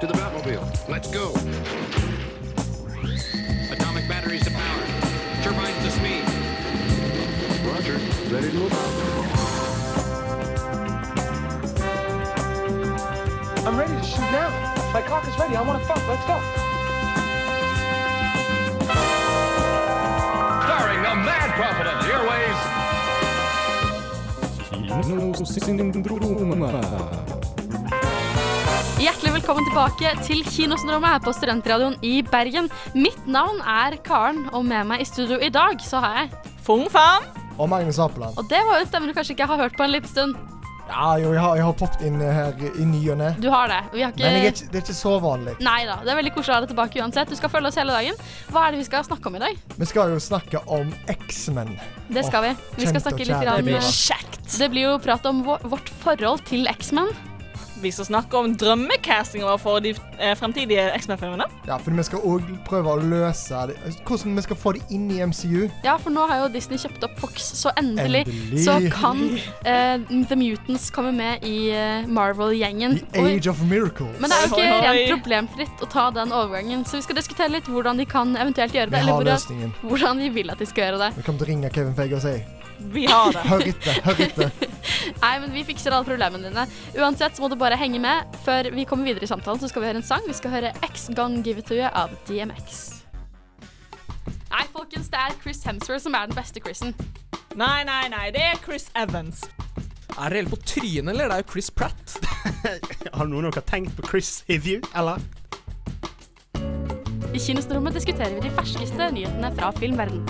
to the Batmobile. Let's go. Atomic batteries to power. Turbines to speed. Roger. Ready to move? I'm ready to shoot now. My cock is ready. I want to fuck. Let's go. Starring the mad prophet of the airways, Hjertelig velkommen tilbake til Kinosyndromet her på Studentradioen i Bergen. Mitt navn er Karen, og med meg i studio i dag så har jeg Fung Fan. Og Magnus Apeland. Og det var jo en stemme du kanskje ikke har hørt på en liten stund. Ja, jo, jeg har, jeg har poppet inn eh, her i ny og ne. Du har det. Vi har ikke Men jeg er ikke, det er ikke så vanlig. Nei da. Det er veldig koselig å ha deg tilbake uansett. Du skal følge oss hele dagen. Hva er det vi skal snakke om i dag? Vi skal jo snakke om X-Men. Det skal vi. Vi kjent skal og snakke litt grann kjært. Det blir om Kjekt. Det blir jo prat om vår- vårt forhold til X-Men. Vi skal snakke om drømmecastinga for de eh, fremtidige X-Men-filmene. Ja, for vi skal òg prøve å løse det. Hvordan vi skal få det inn i MCU. Ja, for nå har jo Disney kjøpt opp Fox, så endelig, Endelig. så kan eh, The Mutants komme med i eh, Marvel-gjengen. The Og vi- Age of Miracles. Men det er jo ikke Oi, oi. rent problemfritt å ta den overgangen, så vi skal diskutere litt hvordan de kan eventuelt gjøre det, vi eller har hvordan, løsningen. hvordan de vil at de skal gjøre det. Vi kommer til å ringe Kevin Feige og si Vi har det. Hør etter, hør etter. Nei, men vi fikser alle problemene dine. Uansett så må du bare henge med. Før vi kommer videre i samtalen, så skal vi høre en sang. Vi skal høre X Gone Give It To You av DMX. Nei, folkens, det er Chris Hemsworth som er den beste Chrisen. Nei, nei, nei. Det er Chris Evans. Er det helt på trynet, eller? Det er jo Chris Pratt. Har noen av dere tenkt på Chris Hivju, eller? I Kinosrommet diskuterer vi de ferskeste nyhetene fra filmverden.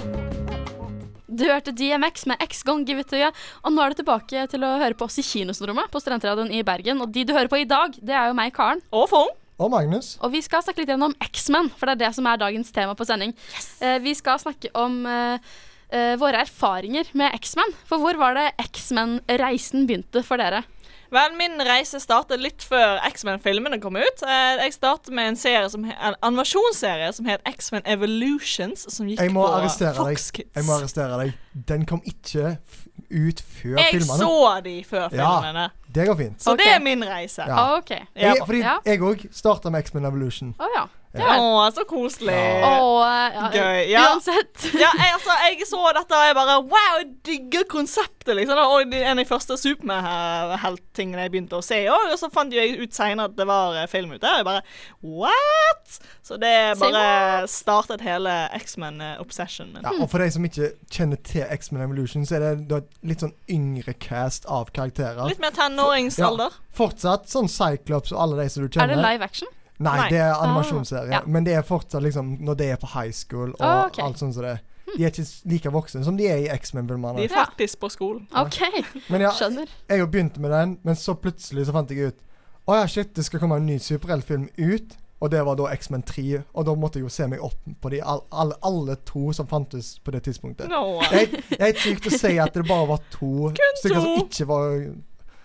Du hørte DMX med X Gone Give It To You, og nå er du tilbake til å høre på oss i Kinosrommet på Studentradioen i Bergen. Og de du hører på i dag, det er jo meg, Karen. Og Fung. Og Magnus. Og vi skal snakke litt igjen om X-Men, for det er det som er dagens tema på sending. Eh, vi skal snakke om eh, eh, våre erfaringer med X-Men. For hvor var det X-Men-reisen begynte for dere? Vel, min reise startet litt før X-Men-filmene kom ut. Eh, Jeg startet med en, serie som, he- en animasjonsserie som het X-Men Evolutions, som gikk Jeg må på arrestere Fox deg. Kids. Jeg må arrestere deg. Den kom ikke f ut før Jeg filmene. så de før Ja. filmene. Det går fint. Så Ok. det er min reise. Ja. Ah, OK. Ja. Jeg, fordi Ja. jeg òg starta med X-Men Evolution. Å ja. Det Å, var så koselig. Og, eh, Gøy, ja. Uansett. Ja, jeg, altså, jeg så dette og jeg bare Wow, jeg digger konseptet, liksom. Og det er en av de første superhelttingene jeg begynte å se òg. Og så fant jo jeg ut seinere at det var eh, film ute. Og jeg bare What?! Så det Say bare startet hele X-Men-obsessionen min. Ja, og for de som ikke kjenner til X-Men Evolution, så er det da et litt sånn yngre cast av karakterer. Litt mer tenåringsalder. Fortsatt sånn Cyclops og alle de som du Er kjenner. det live action? Nei, Nei. det er animasjonsserie. Ah, ja. Men det er fortsatt liksom når de er på high school og Ah, ok. alt sånt som det. De er ikke like voksne som de er i X-Men-filmene. De er Ja. faktisk på skolen. OK, Men ja, skjønner. jeg jo begynte med den, men så plutselig så fant jeg ut Å ja, shit, det skal komme en ny superheltfilm ut. Og det var da X-Men 3, og da måtte jeg jo se meg opp på de all, all, alle to som fantes på det tidspunktet. No. Det er helt- det er helt sykt å si at det bare var to stykker som to. ikke var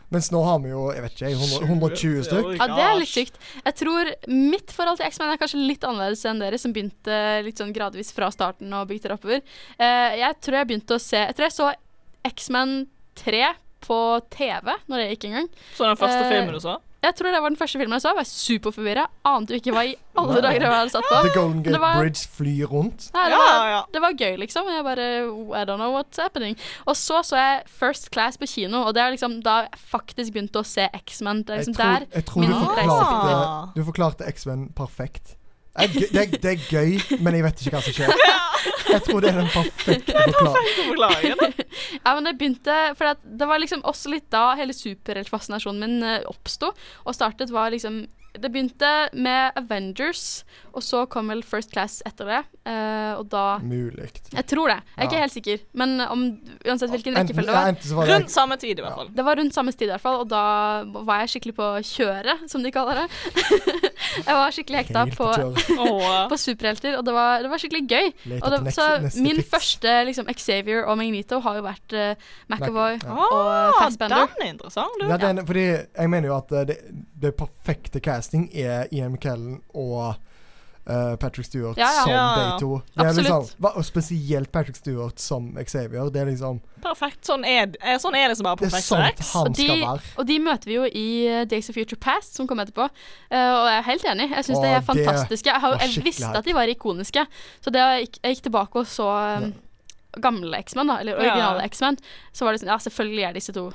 Mens nå har vi jo jeg vet ikke, 100, 120 stykker. Ja, det er litt sykt. Jeg tror mitt forhold til X-Men er kanskje litt annerledes enn dere, som begynte litt sånn gradvis fra starten og bygde det oppover. Eh, jeg tror jeg begynte å se Jeg tror jeg så X-Men 3 på TV når jeg gikk en gang. Så den første Eh, filmen du så? Jeg tror det var den første filmen jeg så. Jeg var superforvirra. Ante jo ikke hva i alle dager jeg hadde satt på. The Golden Men Gate det var- Bridge flyr rundt. Nei, det, Ja, var, ja. det var gøy, liksom. men Jeg bare I don't know what's happening. Og så så jeg First Class på kino, og det er liksom da jeg faktisk begynte å se X-Men. Det er Jeg liksom tror, der jeg tror min du reise forklarte, begynte. du forklarte X-Men perfekt. Det er, gøy, det, er, det er gøy, men jeg vet ikke hva som skjer. Jeg tror det er den perfekte forklaringen. Forklaringen. Ja, men det begynte For at det var liksom også litt da hele superheltfascinasjonen min eh, oppsto og startet, var liksom Det begynte med Avengers, og så kom vel First Class etter det, eh, og da Mulig. Jeg tror det. Jeg er ikke Ja. helt sikker. Men om, uansett hvilken rekkefølge Enten, det ja, var. enten så var det Rundt samme tid, i hvert fall. Det var rundt samme tid i hvert fall, og da var jeg skikkelig på kjøret, som de kaller det. jeg var skikkelig hekta helt på, på kjøret. Åh. på superhelter, og det var, det var skikkelig gøy. Og Let det, etter next- så neste min fix. første liksom, Xavier og Magnito har jo vært eh, McAvoy Mac- og eh, Ah, den Fassbender. er interessant, du. Ja, den, fordi jeg mener jo at eh, det, det perfekte casting er Ian McKellen og eh, Patrick Stewart Ja, ja. som Ja, ja. de to. Det er Absolutt. liksom, hva- og spesielt Patrick Stewart som Xavier. Det er liksom Perfekt. Sånn er, eh, sånn er det som bare Det er perfekt sånn sex. han Og de, skal være. og de møter vi jo i eh, Days of Future Past, som kom etterpå. Eh, og jeg er helt enig. Jeg syns Å, de er det fantastiske. Jeg, har, var jeg skikkelig visste hype. at de var ikoniske. Så det, jeg gikk- jeg gikk tilbake og så um, gamle X-Men, da, eller originale Ja. X-Men, så var det sånn Ja, selvfølgelig er disse to.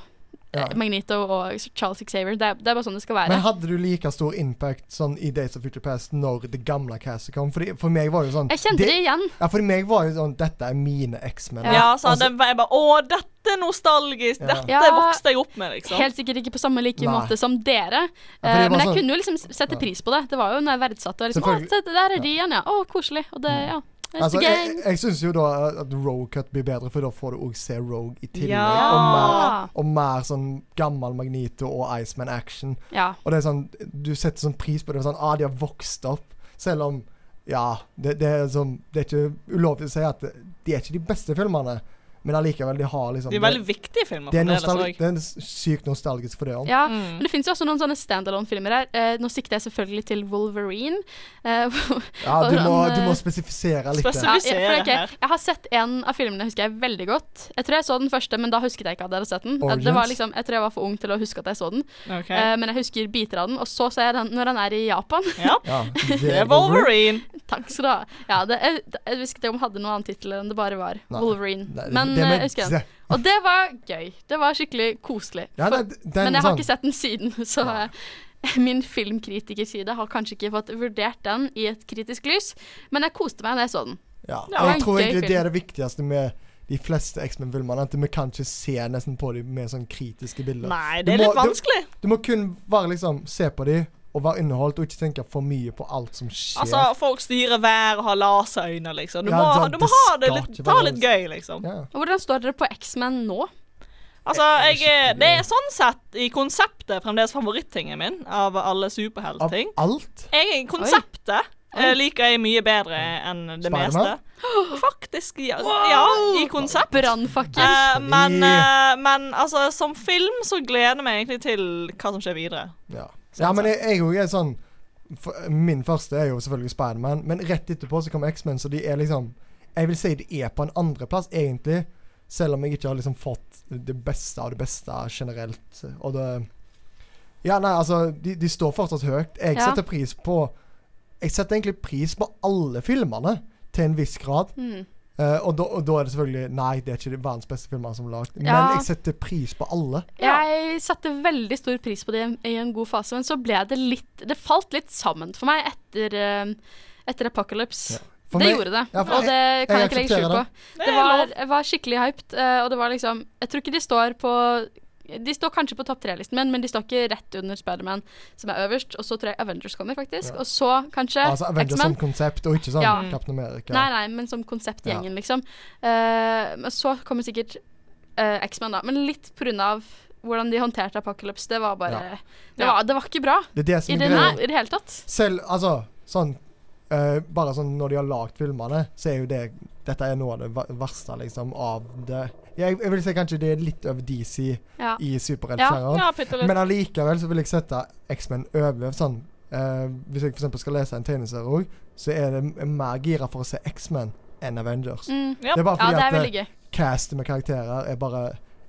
Ja. eh, Magneto og Charles Xavier. Det, er- det er bare sånn det skal være. Men hadde du like stor impact sånn i Days of Future Past når det gamle castet kom? Fordi, for meg var jo sånn jeg kjente det- det, igjen. Ja, for meg var jo sånn Dette er mine X-Men. Ja, så Altså, hadde jeg bare Å, dette er nostalgisk. Ja. Dette Ja. vokste jeg opp med, liksom. Helt sikkert ikke på samme like Nei. måte som dere. eh, Ja, for det var men jeg sånn- kunne jo liksom sette pris på det. Det var jo når jeg verdsatte det. Liksom, Selvfølgelig. å, se, der er de igjen, ja. Å, koselig. Og det, ja. altså, jeg gang. jeg syns jo da at Rogue Cut blir bedre, for da får du òg se Rogue i tillegg. Ja. Og, mer, og mer sånn gammel Magnito og Iceman action. ja. Og det er sånn, du setter sånn pris på det. og Sånn, ah, de har vokst opp. Selv om Ja, det, det, er sånn, det er ikke ulovlig å si at de er ikke de beste filmene, men allikevel, de har liksom De er veldig viktige filmer. det er, fremdeles, nostal- og- det er sykt nostalgisk for det òg. Ja, men Mm. det finnes jo også noen sånne standalone-filmer her. Eh, nå sikter jeg selvfølgelig til Wolverine. Eh, Ja, du, og må, han, du må eh, spesifisere litt. det. Spesif- ja, jeg, for vi det ser er det ikke- her. jeg har sett en av filmene husker jeg veldig godt. Jeg tror jeg så den første, men da husket jeg ikke at jeg hadde sett den. Eh, Det var Origins? liksom, jeg tror jeg var for ung til å huske at jeg så den, Ok. eh, men jeg husker biter av den. Og så ser jeg den når han er i Japan. Ja. Ja, Det er Wolverine. Takk skal du ha. Ja, det, jeg, jeg husker ikke om han hadde noen annen tittel enn det bare var Nei. Wolverine. Nei, det- men det eh, med jeg husker se- den. Og det var gøy. Det var skikkelig koselig. Ja, For- nei, d- den, Men jeg har sånn- ikke sett den siden, så eh, min filmkritikerside har kanskje ikke fått vurdert den i et kritisk lys, men jeg koste meg da jeg så den. Ja. Ja, og jeg en tror gøy egentlig det er film. det viktigste med de fleste X-Men-filmene. At vi kan ikke se nesten på dem med sånn kritiske bilder. Nei, Du det er må- litt du- vanskelig. Du må kun bare liksom se på dem og være underholdt, og ikke tenke for mye på alt som skjer. Altså, folk styrer vær og har laserøyne, liksom. Du Ja, må, sant, du må det ha det skal litt, ikke ta være litt gøy, liksom. ja. Og Hvordan står dere på X-Men nå? Altså, jeg, er- det er sånn sett i konseptet fremdeles favorittingen min av alle Av superheltting. alt. Jeg, konseptet eh, liker jeg mye bedre enn det Spider-Man? meste. Faktisk, ja. ja I konsept. Brannfakken. Eh, men, Fordi- eh, men altså, som film så gleder jeg meg egentlig til hva som skjer videre. Ja, ja men jeg, jeg er jo sånn for, Min første er jo selvfølgelig Spiderman, men rett etterpå så kommer X-Men, så de er liksom Jeg vil si de er på en andreplass, egentlig. Selv om jeg ikke har liksom fått det beste av det beste generelt. Og det Ja, nei, altså, de, de står fortsatt høyt. Jeg Ja. setter pris på Jeg setter egentlig pris på alle filmene, til en viss grad. Mm. Eh, og, da, og da er det selvfølgelig Nei, det er ikke de verdens beste filmer som er lagd, men Ja. jeg setter pris på alle. Jeg satte veldig stor pris på det i en, i en god fase, men så ble det litt Det falt litt sammen for meg etter, eh, etter Apocalypse. For det meg- gjorde det, ja, for og det kan jeg, jeg ikke legge skjul aksepterer på. det. Det var, jeg var skikkelig hyped, eh, og det var liksom Jeg tror ikke de står på De står kanskje på topp tre-listen min, men de står ikke rett under Spiderman, som er øverst. Og så tror jeg Avengers kommer, faktisk. Og så kanskje Altså Avengers som X-Man. konsept, og ikke sånn Ja. Captain America. Nei, nei, men som konseptgjengen, liksom. Eh, Men så kommer sikkert eh, X-Man, da. Men litt på grunn av hvordan de håndterte Apocalypse. Det var bare Ja. det, var, det var ikke bra Det er det i som det, er nei, greia. i det hele tatt. Selv altså sånn eh, Bare sånn når de har lagd filmene, så er jo det Dette er noe av det ver- verste, liksom, av det jeg, jeg vil si kanskje det er litt over DC Ja. i superheltsjangeren. Ja, bitte litt. Men allikevel så vil jeg sette X-Men over sånn eh, Hvis jeg f.eks. skal lese en tegneserie òg, så er det m- mer gira for å se X-Men enn Avengers. Mm. Ja. Det er bare Ja, fordi det er at veldig eh, gøy. castet med karakterer er bare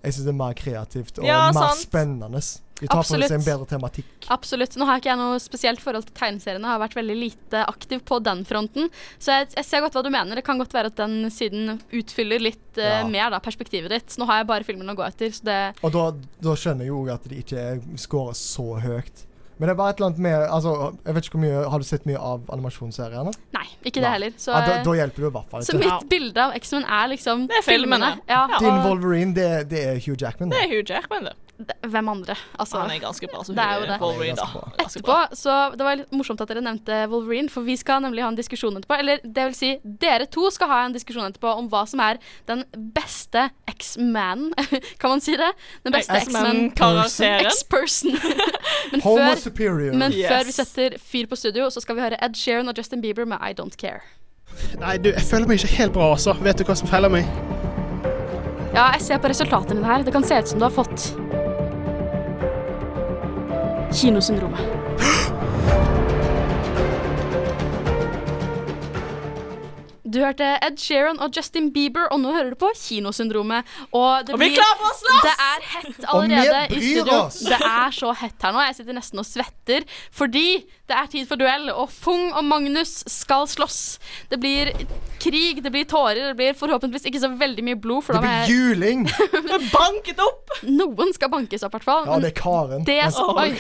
Jeg syns det er mer kreativt og Ja, mer sant. spennende. De tar for seg Absolutt. en bedre tematikk. Absolutt. Nå har ikke jeg noe spesielt forhold til tegneseriene. Jeg har vært veldig lite aktiv på den fronten. Så jeg, jeg ser godt hva du mener. Det kan godt være at den siden utfyller litt eh, Ja. mer da, perspektivet ditt. Nå har jeg bare filmen å gå etter, så det Og da, da skjønner jeg jo at de ikke scorer så høyt. Men det er bare et eller annet med altså, jeg vet ikke hvor mye, Har du sett mye av animasjonsseriene? Nei, ikke det Nei. heller. Så, Ja, da, eh, da hjelper det i hvert fall så ikke. mitt bilde av X-Men er liksom Det er filmene. Ja, Ja. Din og Wolverine, det, det er Hugh Jackman. Det er Hugh Jackman, det. d- hvem andre? Altså Han er ganske bra som Det er jo det. Wolverine, da. Ganske bra. Ganske etterpå, så Det var litt morsomt at dere nevnte Wolverine, for vi skal nemlig ha en diskusjon etterpå. Eller det vil si, dere to skal ha en diskusjon etterpå om hva som er den beste X-manen, kan man si det? Den beste X-man X-Men-karakteren. X-person. men Homo før, superior. men Yes. før vi setter fyr på studio, så skal vi høre Ed Sheeran og Justin Bieber med I Don't Care. Nei, du, jeg føler meg ikke helt bra, altså. Vet du hva som feller meg? Ja, jeg ser på resultatene dine her. Det kan se ut som du har fått Kinosyndromet. Du hørte Ed Sheeran og Justin Bieber, og nå hører du på Kinosyndromet. Og, det Og vi er klare for å slåss! Det er hett Og vi allerede i bryr studio. oss! Det er så hett her nå. Jeg sitter nesten og svetter fordi det er tid for duell, og Fung og Magnus skal slåss. Det blir krig, det blir tårer, det blir forhåpentligvis ikke så veldig mye blod. For Det da må blir jeg, juling! Vi banket opp! noen skal bankes opp, i hvert fall. Ja, Men det er Karen. det, Men- som- oi,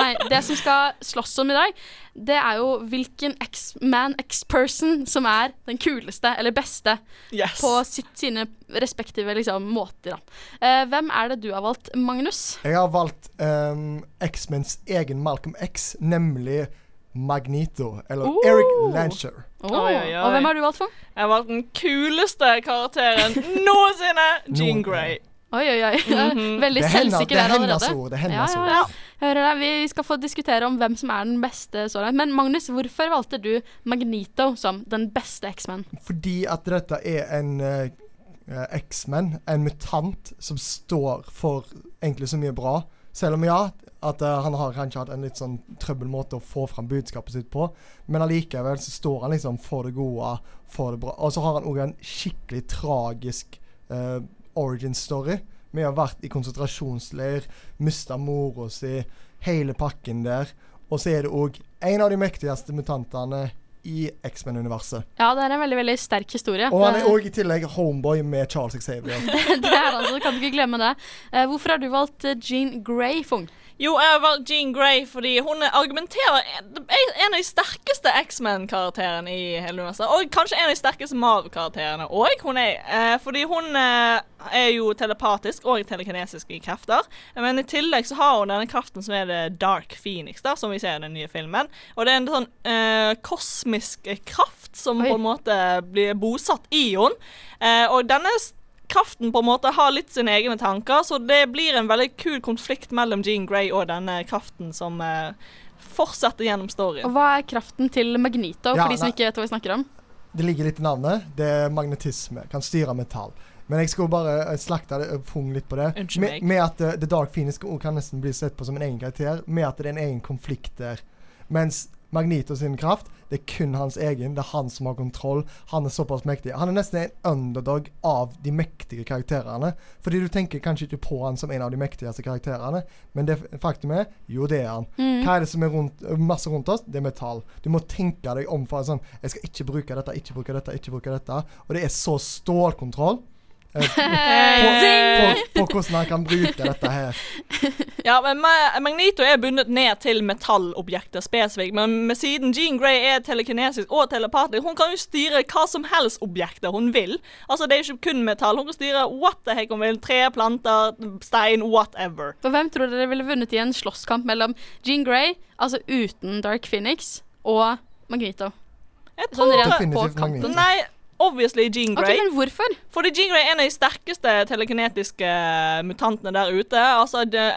nei, det som skal slåss om i dag, det er jo hvilken X-man, X-person, som er den kuleste eller beste Yes. på sitt, sine respektive liksom, måter. Da. Eh, hvem er det du har valgt, Magnus? Jeg har valgt um, X-mens egen Malcolm X, nemlig Magnito, eller Oh. Eric Lancher. Åh, Oi, oi, oi. Og hvem har du valgt for? Jeg valgte den kuleste karakteren noensinne. Jean Noensinne. Grey. Oi, oi, oi. Veldig Det er henne- selvsikker det er der allerede. hennes ord, det er altså. hennes ja, ja, ja. Hører deg. Vi skal få diskutere om hvem som er den beste så langt. Men Magnus, hvorfor valgte du Magnito som den beste X-Man? Fordi at dette er en eh, eh, X-men, en mutant, som står for egentlig så mye bra. Selv om, ja, at eh, han har kanskje hatt en litt sånn trøbbel måte å få fram budskapet sitt på, men allikevel så står han liksom for det gode, for det bra. Og så har han òg en skikkelig tragisk eh, origin story. Vi har vært i konsentrasjonsleir, mista mora si, hele pakken der. Og så er det òg en av de mektigste mutantene i X-Men-universet. Ja, det er en veldig veldig sterk historie. Eh, Og han er det, òg i tillegg homeboy med Charles Xavier. det er han, så du kan ikke glemme det. Eh, hvorfor har du valgt eh, Jean Grey, Fung? Jo, jeg har valgt Jean Grey fordi hun argumenterer er en av de sterkeste X-Men-karakterene i hele universet. Og kanskje en av de sterkeste Marv-karakterene òg. Eh, fordi hun eh, er jo telepatisk og telekinesisk i krefter. Men i tillegg så har hun denne kraften som er det Dark Phoenix, da, som vi ser i den nye filmen. Og det er en sånn eh, kosmisk kraft som Oi. på en måte blir bosatt i henne. Eh, og denne s- kraften på en måte har litt sine egne tanker, så det blir en veldig kul konflikt mellom Jean Grey og denne kraften som eh, fortsetter gjennom Og storyen. hva er kraften til Magnito, Ja, for de som nei. ikke vet hva vi snakker om? Det ligger litt i navnet. Det er magnetisme. Kan styre metall. Men jeg skulle bare eh, slakte det, eh, fung litt på det. Unnskyld Med, meg. med at eh, The Dark Phoenix også kan nesten bli sett på som en egen karakter, med at det er en egen konflikt der. Mens Magnito sin kraft, det er kun hans egen. Det er han som har kontroll. Han er såpass mektig. Han er nesten en underdog av de mektige karakterene. Fordi du tenker kanskje ikke på han som en av de mektigste karakterene, men det f- faktum er jo, det er han. Mm. Hva er det som er rundt, masse rundt oss? Det er metall. Du må tenke deg om for sånn Jeg skal ikke bruke dette, ikke bruke dette, ikke bruke dette. Og det er så stålkontroll eh, Eh, på, på hvordan han kan bruke dette her. Ja, men Ma- Magneto er bundet ned til metallobjekter spesifikt, men med siden Jean Grey er telekinesisk og telepatisk, hun kan jo styre hva som helst objekter hun vil. Altså, det er jo ikke kun metall. Hun kan styre what the heck hun vil. Tre, planter, stein, whatever. For hvem tror dere ville vunnet i en slåsskamp mellom Jean Grey, altså uten Dark Phoenix, og Magnito? Jeg Sånn tror rent på Definitivt Magneto. kanten. Nei, obviously Jean Ok, Grey. men hvorfor? Fordi Jean Grey er en av de sterkeste telekinetiske eh, mutantene der ute. Altså, det,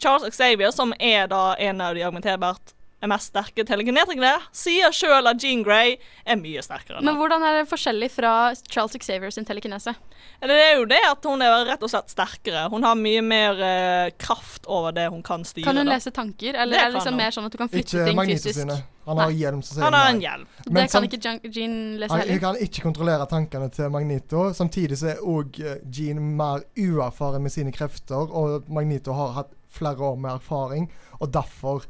Charles Xavier, som er da en av de argumenterbart mest sterke telekinetikerne, sier sjøl at Jean Grey er mye sterkere. Men enn han. hvordan er det forskjellig fra Charles Xavier sin telekinese? Eller Det er jo det at hun er rett og slett sterkere. Hun har mye mer eh, kraft over det hun kan styre. Kan hun da. lese tanker, eller Det er det kan liksom hun. mer sånn at du kan flytte Ikke ting Magnito fysisk? sine. Han har Nei. hjelm som sier Han har en nei. hjelm. Men Det kan sam- ikke Jean, Jean lese Han, hun heller. kan ikke kontrollere tankene til Magnito. Samtidig så er òg eh, Jean mer uerfaren med sine krefter, og Magnito har hatt flere år med erfaring, og derfor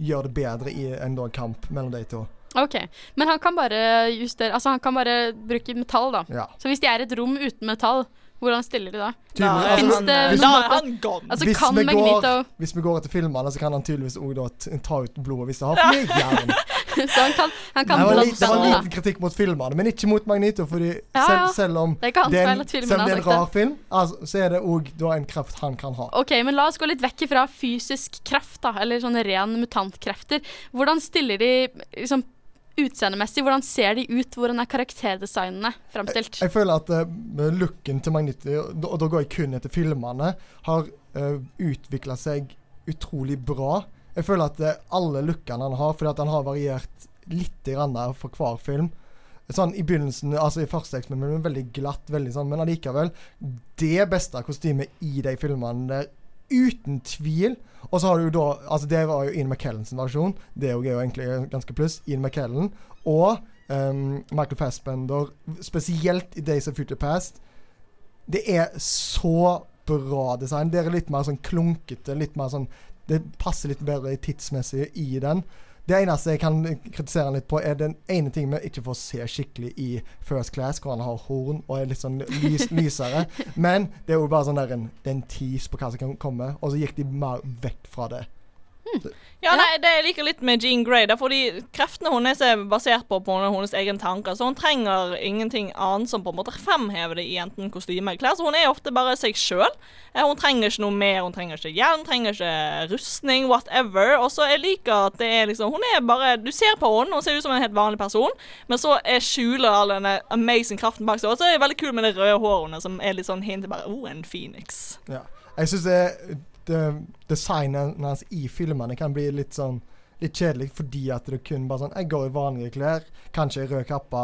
gjør det bedre i en da kamp mellom de to. Ok, Men han kan bare justere Altså, han kan bare bruke metall, da. Ja. Så hvis de er i et rom uten metall, hvordan stiller de da? Da Tydelig- er Finnes han, det- eh, hvis da man- er han gone. Altså, hvis, kan vi går, Magnito hvis vi går etter filmene, så kan han tydeligvis òg da t- ta ut blodet hvis det har for mye jern. Så han kan, han Det kan var, blande litt, det var da. liten kritikk mot filmene, men ikke mot Magnito. Fordi Ja, selv, ja. selv om Det er ikke hans det er feil en, at filmene selv om har det er en sagt det. rar film, altså, så er det òg da en kraft han kan ha. OK, men la oss gå litt vekk ifra fysisk kraft, da, eller sånn ren mutantkrefter. Hvordan stiller de liksom utseendemessig? Hvordan ser de ut? Hvordan er karakterdesignene framstilt? Jeg føler at eh, looken til Magniti, og da- og da går jeg kun etter filmene, har uh, utvikla seg utrolig bra. Jeg føler at eh, alle lookene han har, fordi at han har variert litt grann der for hver film Sånn I begynnelsen, altså i første eksperiment, veldig glatt, veldig sånn, men allikevel Det beste kostymet i de filmene der, uten tvil. Og så har du jo da Altså, det var jo Ian McKellen sin versjon. Det er jo egentlig ganske pluss. Ian McKellen. Og um, Michael Fassbender, spesielt i Days of Future Past. Det er så bra design. Det er litt mer sånn klunkete, litt mer sånn Det passer litt bedre tidsmessig i den. Det eneste jeg kan kritisere han litt på, er den ene ting vi ikke får se skikkelig i First Class, hvor han har horn og er litt sånn lys, lysere. Men det er jo bare sånn der en, det er en tease på hva som kan komme, og så gikk de mer vekk fra det. Ja, nei, det jeg liker litt med Jean Grey, det er fordi kreftene hennes er basert på, på hennes egen tanker, så hun trenger ingenting annet som på en måte fremhever det i enten kostyme eller klær, så hun er ofte bare seg sjøl. Hun trenger ikke noe mer, hun trenger ikke hjelm, trenger ikke rustning, whatever. Og så jeg liker at det er liksom Hun er bare Du ser på henne, hun ser ut som en helt vanlig person, men så er skjuler all denne amazing kraften bak seg, og så er det veldig kult med det røde håret hennes, som er litt sånn hint til bare Oh, en phoenix. Ja. Jeg syns det, det designet hans i filmene kan bli litt sånn litt kjedelig fordi at det kun bare sånn Jeg går i vanlige klær, kanskje i rød kappe,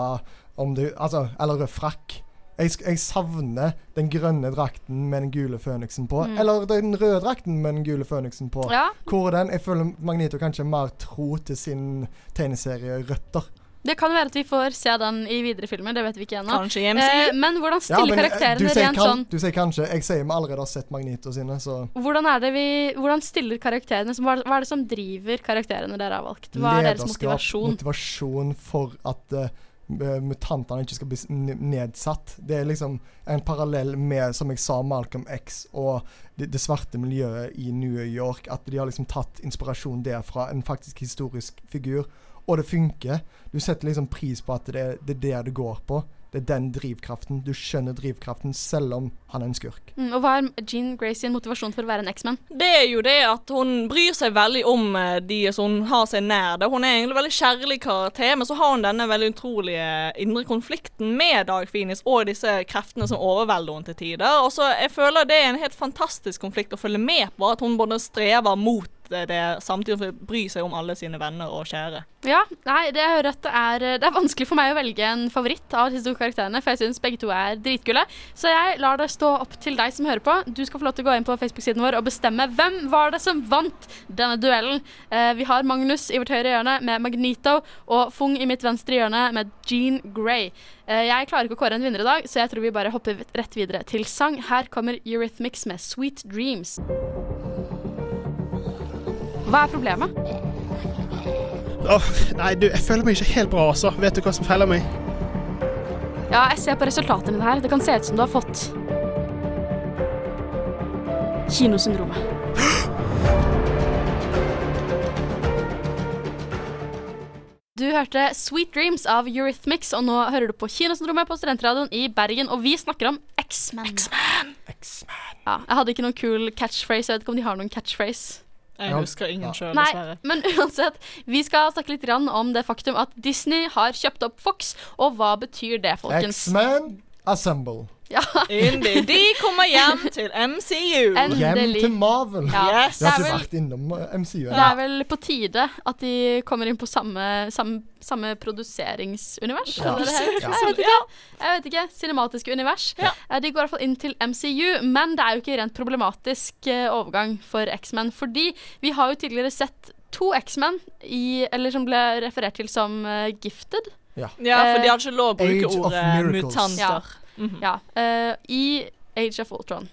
om du Altså, eller rød frakk. Jeg, sk- jeg savner den grønne drakten med den gule føniksen på. Eller den røde drakten med den gule føniksen på. Mm. Ja. Hvor er den? Jeg føler Magnito kanskje er mer tro til sin tegneserierøtter. Det kan være at vi får se den i videre filmer, det vet vi ikke ennå. Kanskje i MCU. Eh, men hvordan stiller eh, du, karakterene sier rent kan, sånn du sier kanskje. Jeg sier vi allerede har sett Magnito sine, så hvordan, er det vi, hvordan stiller karakterene som, hva, hva er det som driver karakterene dere har valgt? Hva er deres motivasjon? motivasjon for at eh, eh, mutantene ikke skal bli s- n- nedsatt. Det er liksom en parallell med, som jeg sa, Malcolm X og det, det svarte miljøet i New York. At de har liksom tatt inspirasjon derfra, en faktisk historisk figur. Og det funker. Du setter liksom pris på at det, er- det er det det går på. Det er den drivkraften. Du skjønner drivkraften selv om han er en skurk. Mm, og hva er Jean Grey sin motivasjon for å være en X-Man? Det er jo det at hun bryr seg veldig om eh, de som hun har seg nær det. Hun er egentlig en veldig kjærlig karakter, men så har hun denne veldig utrolige indre konflikten med Dark Phoenix og disse kreftene som overvelder henne til tider. Og så jeg føler det er en helt fantastisk konflikt å følge med på, at hun både strever mot det, det samtidig som hun bryr seg om alle sine venner og kjære. Ja, nei, det jeg hører at det er eh, Det er vanskelig for meg å velge en favoritt av disse to karakterene, for jeg syns begge to er dritkule. Så jeg lar det stå opp til deg som hører på. Du skal få lov til å gå inn på Facebook-siden vår og bestemme hvem var det som vant denne duellen. Eh, vi har Magnus i vårt høyre hjørne med Magnito og Fung i mitt venstre hjørne med Jean Grey. Eh, jeg klarer ikke å kåre en vinner i dag, så jeg tror vi bare hopper rett videre til sang. Her kommer Eurythmics med Sweet Dreams. Hva er problemet? Åh, nei, du, jeg føler meg ikke helt bra, altså. Vet du hva som feiler meg? Ja, jeg ser på resultatene mine her. Det kan se ut som du har fått Kinosyndromet. Du hørte Sweet Dreams av Eurythmics, og nå hører du på Kinosyndromet på Studentradioen i Bergen, og vi snakker om X-Men. Ja, jeg hadde ikke noen kul catchphrase. Jeg vet ikke om de har noen catchphrase. Jeg Ja. husker ingen sjøl, Nei, dessverre. men uansett, vi skal snakke litt grann om det faktum at Disney har kjøpt opp Fox, og hva betyr det, folkens? X-Man Assemble. Ja, Indy, de kommer hjem til MCU. Hjem endelig. til Marvel. Ja. Yes. Jeg har Det er ikke vel- vært innom eh, MCU. Det er vel på tide at de kommer inn på samme, samme, samme produseringsunivers. eller det heter? Jeg vet ikke. Jeg vet ikke. Cinematiske univers. Eh, De går i hvert fall inn til MCU, men det er jo ikke rent problematisk eh, overgang for X-Men. Fordi vi har jo tidligere sett to X-Men i- eller som ble referert til som eh, gifted. Ja, for de hadde ikke lov å bruke Age of ordet Miracles. Ja. mutanter. Ja, eh, I Age of Ultron.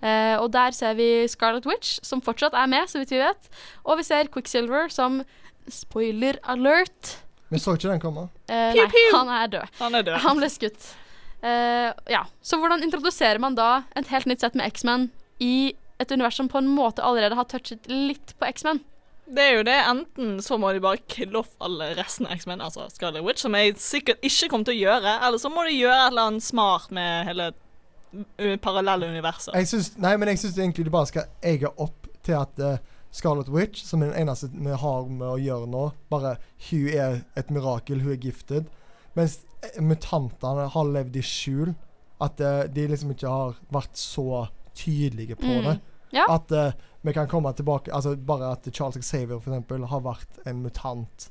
Eh, og der ser vi Scarlet Witch, som fortsatt er med, så vidt vi vet. Og vi ser Quicksilver som Spoiler alert! Vi så ikke den komme. Eh, Pew, nei, pew. han er død. Han er død. Han ble skutt. Eh, ja. Så hvordan introduserer man da et helt nytt sett med X-Men i et univers som på en måte allerede har touchet litt på X-Men? Det er jo det. Enten så må de bare kille off alle resten av X-Men, altså Scarlet Witch, som jeg sikkert ikke kommer til å gjøre, eller så må de gjøre et eller annet smart med hele ø, parallelle universet. Jeg syns, nei, men jeg syns egentlig de bare skal egge opp til at eh, Scarlet Witch, som er den eneste vi har med å gjøre nå, bare Hun er et mirakel, hun er gifted. Mens eh, mutantene har levd i skjul. At eh, de liksom ikke har vært så tydelige på Mm, det. ja. At eh, vi kan komme tilbake Altså bare at Charles Xavier for eksempel har vært en mutant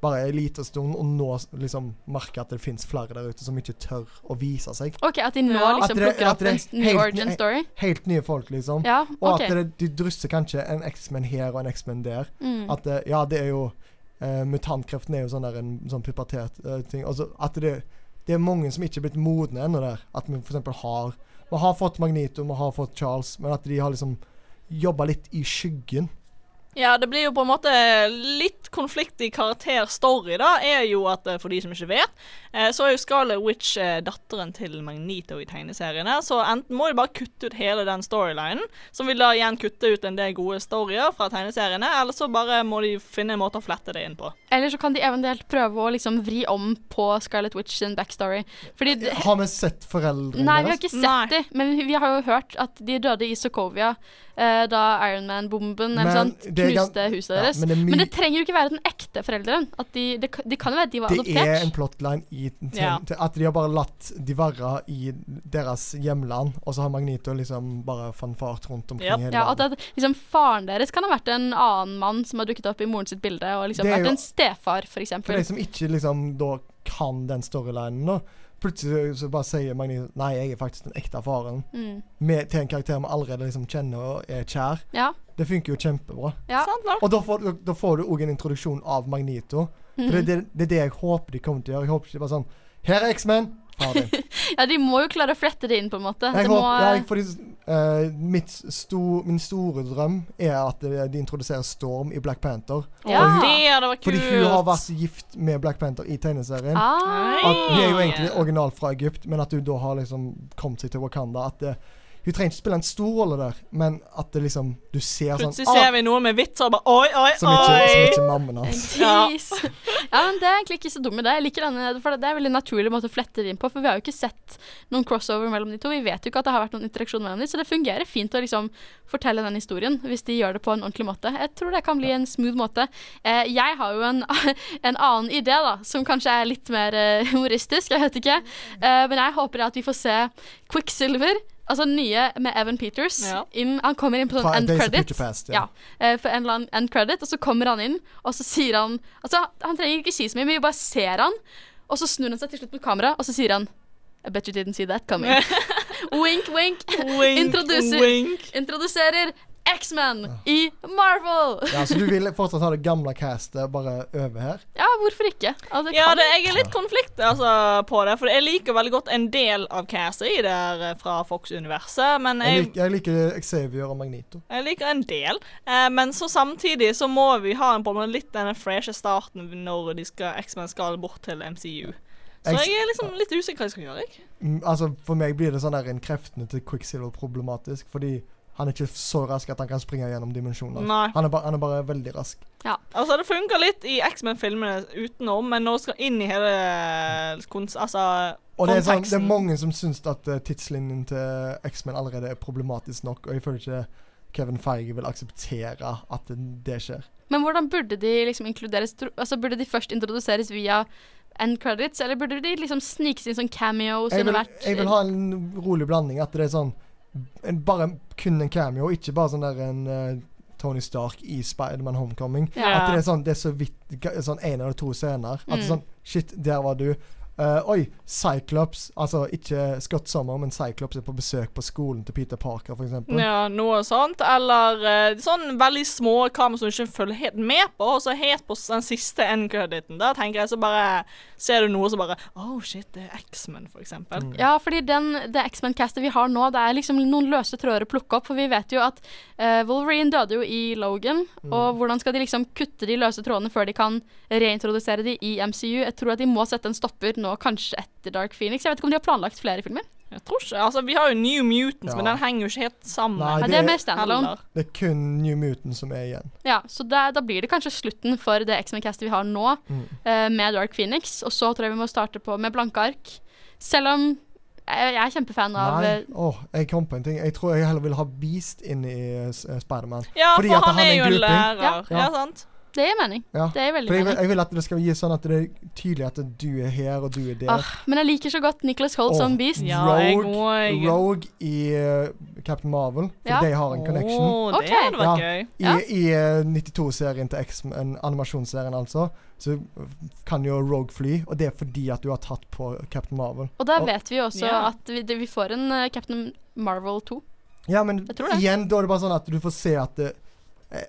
bare en liten stund, og nå s- liksom merker at det fins flere der ute som ikke tør å vise seg. OK, at de nå Ja. liksom At det- plukker at opp en det ny helt origin ny- story? Helt nye folk, liksom. Ja, Og OK. at det, de drysser kanskje en X-Men her og en X-Men der. Mm. At det, ja, det er jo eh, mutantkreften er jo sånn der en sånn pubertet eh, ting. Altså at det, det er mange som ikke er blitt modne ennå der. At vi f.eks. har Vi har fått Magnito, vi har fått Charles, men at de har liksom jobba litt i skyggen. Ja, det blir jo på en måte litt konflikt i karakterstory, da, er jo at eh, for de som ikke vet, eh, så er jo Scarlet Witch eh, datteren til Magnito i tegneseriene, så enten må de bare kutte ut hele den storylinen, som vil da igjen kutte ut en del gode storyer fra tegneseriene, eller så bare må de finne en måte å flette det inn på. Eller så kan de eventuelt prøve å liksom vri om på Scarlet Witch sin backstory. Fordi det, Har vi sett foreldrene Nei, vi har deres? ikke Nei. sett dem, men vi har jo hørt at de døde i Sokovia eh, da Ironman-bomben eller Men sånn det er gan- knuste huset Ja, deres. men det er men, my- det trenger jo ikke være den ekte forelderen. At de, det, kan- de kan jo være at de var Det er en adoptert. plotline i til, Ja. til at de har bare latt de være i deres hjemland, og så har Magnito liksom bare fanfart rundt omkring Ja. hele Ja, at, verden. at liksom, Faren deres kan ha vært en annen mann som har dukket opp i moren sitt bilde, og liksom Det er vært jo- en stefar, for For eksempel. de som ikke liksom da kan den storylinen, da. Plutselig så bare sier Magnito Nei, jeg er faktisk den ekte faren. Mm. Med, til en karakter vi allerede liksom kjenner og er kjær. Ja, Det funker jo kjempebra. ja. Sant, da? Og da får, du- da får du òg en introduksjon av Magnito. For det, er det, det er det jeg håper de kommer til å gjøre. Jeg håper ikke de bare sånn Her er X-Men! Ferdig. Mm. ja, de må jo klare å flette det inn, på en måte. Jeg det må, håper, jeg, fordi, eh, mitt sto, min store drøm er at eh, de introduserer Storm i Black Panther. Ja. Åh, Det hadde vært kult. Fordi hun har vært gift med Black Panther i tegneserien. Ah, At Hun er jo egentlig original fra Egypt, men at hun da har liksom kommet seg til Wakanda. At eh, Hun trenger ikke spille en stor rolle der, men at det liksom du ser sånn Plutselig ah, ser vi noen med vitser og bare oi, oi, som, ikke, som oi. ikke mammaen hans. Ja. Tease. ja, men det er egentlig ikke så dum idé. Jeg liker denne, for det er en veldig naturlig måte å flette det inn på, for vi har jo ikke sett noen crossover mellom de to. Vi vet jo ikke at det har vært noen interaksjon mellom de, så det fungerer fint å liksom fortelle den historien hvis de gjør det på en ordentlig måte. Jeg tror det kan bli en smooth måte. Eh, jeg har jo en, en annen idé, da, som kanskje er litt mer eh, humoristisk, jeg vet ikke. Eh, men jeg håper at vi får se Quicksilver, altså den nye med Evan Peters. Ja. Inn, han kommer inn på Fra sånn end Days of credit. Future Past, ja. ja. eh, for en eller annen end credit, og så kommer han inn, og så sier han Altså, han trenger ikke si så mye, men vi bare ser han, og så snur han seg til slutt mot kamera, og så sier han I bet you didn't see that coming. wink, wink. Wink, Introduser- wink. Introduserer X-Men i Marvel! Ja, så du vil fortsatt ha det gamle castet bare over her? Ja, hvorfor ikke? Altså, Ja, kan- det, jeg er litt konflikt altså, på det, for jeg liker veldig godt en del av castet i der eh, fra Fox-universet, men Jeg, jeg, lik, jeg liker Xavier og Magnito. jeg liker en del. Eh, men så samtidig så må vi ha en, på en måte litt denne freshe starten når de skal, X-Men skal bort til MCU. Så Ex- jeg er liksom litt usikker hva jeg skal gjøre, jeg. Mm, altså For meg blir det sånn der en kreftene til Quicksilver problematisk. Fordi han er ikke så rask at han kan springe gjennom dimensjoner. Nei. Han er, ba han er bare veldig rask. Altså, det funker litt i X-Men-filmene utenom, men nå skal inn i hele kons... Altså, Og det er, sånn, det konteksten. er mange som syns at eh, tidslinjen til X-Men allerede er problematisk nok, og jeg føler ikke Kevin Feige vil akseptere at det- det skjer. Men hvordan burde de liksom inkluderes? Tro- Altså, burde de først introduseres via end credits, eller burde de liksom snikes inn som cameos Jeg vil, under hvert jeg vil ha en rolig blanding. At det er sånn en, Bare en- kun en cameo, ikke bare sånn der en eh, Tony Stark i Spiderman Homecoming. Ja. At det er sånn Det er så vidt ga- sånn én eller to scener. At det er sånn Shit, der var du. Eh, oi, Cyclops. Altså ikke Scott Summer, men Cyclops er på besøk på skolen til Peter Parker, f.eks. eksempel Ja, noe sånt. Eller eh, sånn veldig små kamera som du ikke følger helt med på, og så helt på den siste end-crediten. Da tenker jeg så bare Ser du noe som bare Oh shit, det er X-Men, for eksempel. Mm. Ja, fordi den, det X-Men-castet vi har nå, det er liksom noen løse tråder å plukke opp. For vi vet jo at eh, Wolverine døde jo i Logan, Mm. og hvordan skal de liksom kutte de løse trådene før de kan reintrodusere de i MCU? Jeg tror at de må sette en stopper nå, kanskje etter Dark Phoenix. Jeg vet ikke om de har planlagt flere filmer? Jeg tror ikke Altså, vi har jo New Mutants, Ja. men den henger jo ikke helt sammen. Nei, Ja, det er mer standalone. Heller. Det er kun New Mutant som er igjen. Ja, så da- da blir det kanskje slutten for det X-Men-castet vi har nå, eh, med Dark Phoenix. Og så tror jeg vi må starte på med blanke ark. Selv om jeg, jeg er kjempefan av Nei. eh, Åh, jeg kom på en ting. Jeg tror jeg heller vil ha Beast inn i uh, Spiderman. Ja, Fordi for at han, er jo en grouping. lærer. Ja. Ja, Ja. sant? Det gir mening. Ja. Det er veldig For jeg, vil- mening. jeg vil at det skal gi sånn at det er tydelig at du er her, og du er der. Ah, men jeg liker så godt Nicholas Holt Åh, som Beast. Ja. jeg Rogue, går. Rogue i eh, Captain Marvel. For Ja. de har en connection. Åh, Ok. det hadde vært Ja. gøy. I, Ja. i eh, 92-serien til X-Men, animasjonsserien altså, så kan jo Rogue fly, og det er fordi at du har tatt på Captain Marvel. Og da Og- vet vi jo også Ja. at vi, det, vi får en eh, Captain Marvel 2. Ja, men Jeg tror det. igjen, da er det bare sånn at du får se at det,